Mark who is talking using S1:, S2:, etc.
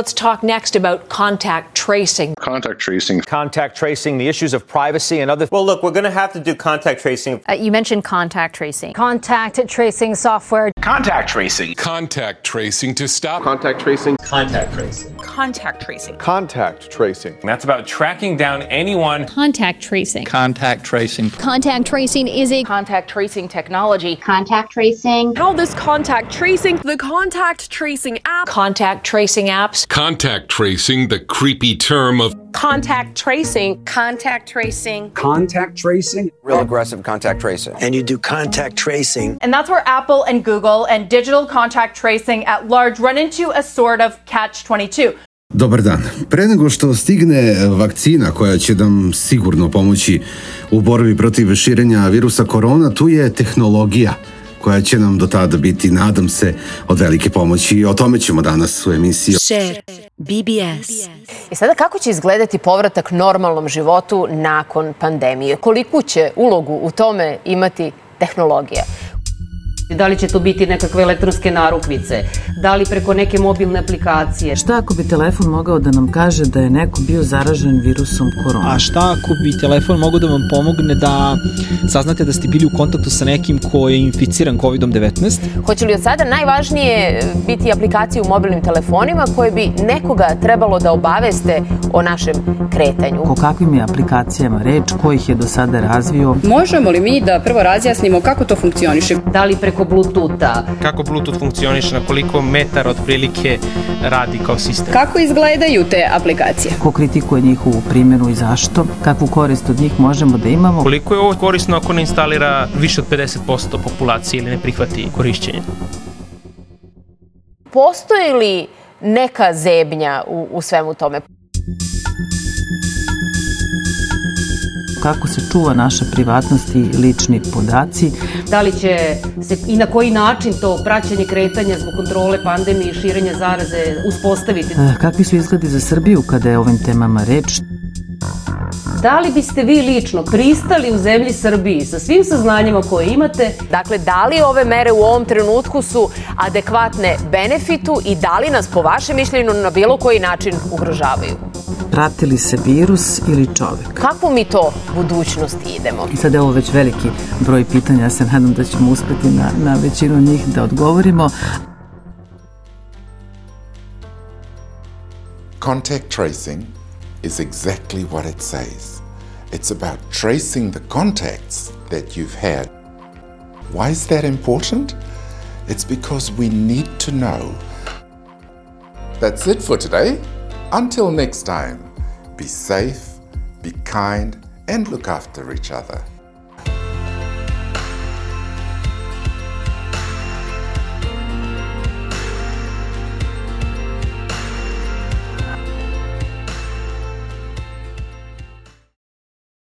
S1: Let's talk next about contact tracing.
S2: Contact tracing.
S3: Contact tracing, the issues of privacy and other.
S4: Well, look, we're going to have to do contact tracing.
S5: Uh, you mentioned contact tracing.
S6: Contact tracing software.
S7: Contact tracing.
S8: Contact tracing to stop.
S9: Contact tracing.
S10: Contact tracing.
S11: Contact tracing.
S9: Contact tracing.
S4: That's about tracking down anyone.
S12: Contact tracing.
S13: Contact tracing.
S14: Contact tracing is a
S11: contact tracing technology.
S15: Contact tracing.
S11: All this contact tracing, the contact tracing app.
S1: Contact tracing apps.
S8: Contact tracing, the creepy term of
S11: contact tracing,
S15: contact tracing,
S16: contact tracing,
S17: real aggressive contact tracing.
S18: And you do contact tracing.
S19: And that's where Apple and Google and digital contact tracing at large run into a sort of catch 22.
S20: Dobar dan. Pre nego što stigne vakcina koja će nam sigurno pomoći u borbi protiv širenja virusa korona, tu je tehnologija koja će nam do tada biti, nadam se, od velike pomoći. O tome ćemo danas u emisiji.
S7: Share. BBS.
S4: I sada kako će izgledati povratak normalnom životu nakon pandemije? Koliku će ulogu u tome imati tehnologija?
S3: Da li će to biti nekakve elektronske narukvice? Da li preko neke mobilne aplikacije?
S2: Šta ako bi telefon mogao da nam kaže da je neko bio zaražen virusom korona?
S13: A šta ako bi telefon mogao da vam pomogne da saznate da ste bili u kontaktu sa nekim ko je inficiran COVID-19?
S4: Hoće li od sada najvažnije biti aplikacije u mobilnim telefonima koje bi nekoga trebalo da obaveste o našem kretanju?
S2: O kakvim je aplikacijama reč? Ko ih je do sada razvio?
S10: Možemo li mi da prvo razjasnimo kako to funkcioniše?
S3: Da li preko preko Bluetootha.
S1: Kako Bluetooth funkcioniše, na koliko metar otprilike radi kao sistem.
S10: Kako izgledaju te aplikacije?
S2: Ko kritikuje njihovu primjenu i zašto? Kakvu korist od njih možemo da imamo?
S1: Koliko je ovo korisno ako ne instalira više od 50% populacije ili ne prihvati korišćenje?
S4: Postoji li neka zebnja u, u svemu tome?
S2: kako se čuva naša privatnost i lični podaci.
S3: Da li će E, se i na koji način to praćenje kretanja zbog kontrole pandemije i širenja zaraze uspostaviti?
S2: E, Kakvi su izgledi za Srbiju kada je o ovim temama reč?
S3: Da li biste vi lično pristali u zemlji Srbiji sa svim saznanjima koje imate?
S4: Dakle, da li ove mere u ovom trenutku su adekvatne benefitu i da li nas po vašem mišljenju na bilo koji način ugrožavaju?
S2: Prati li se virus ili čovek?
S4: Kako mi to budućnost idemo?
S2: I sada je ovo već veliki broj pitanja, ja se nadam da ćemo uspeti na, na većinu njih da odgovorimo.
S21: Contact tracing is exactly what it says. It's about tracing the contacts that you've had. Why is that important? It's because we need to know. That's it for today. Until next time, be safe, be kind, and look after each other.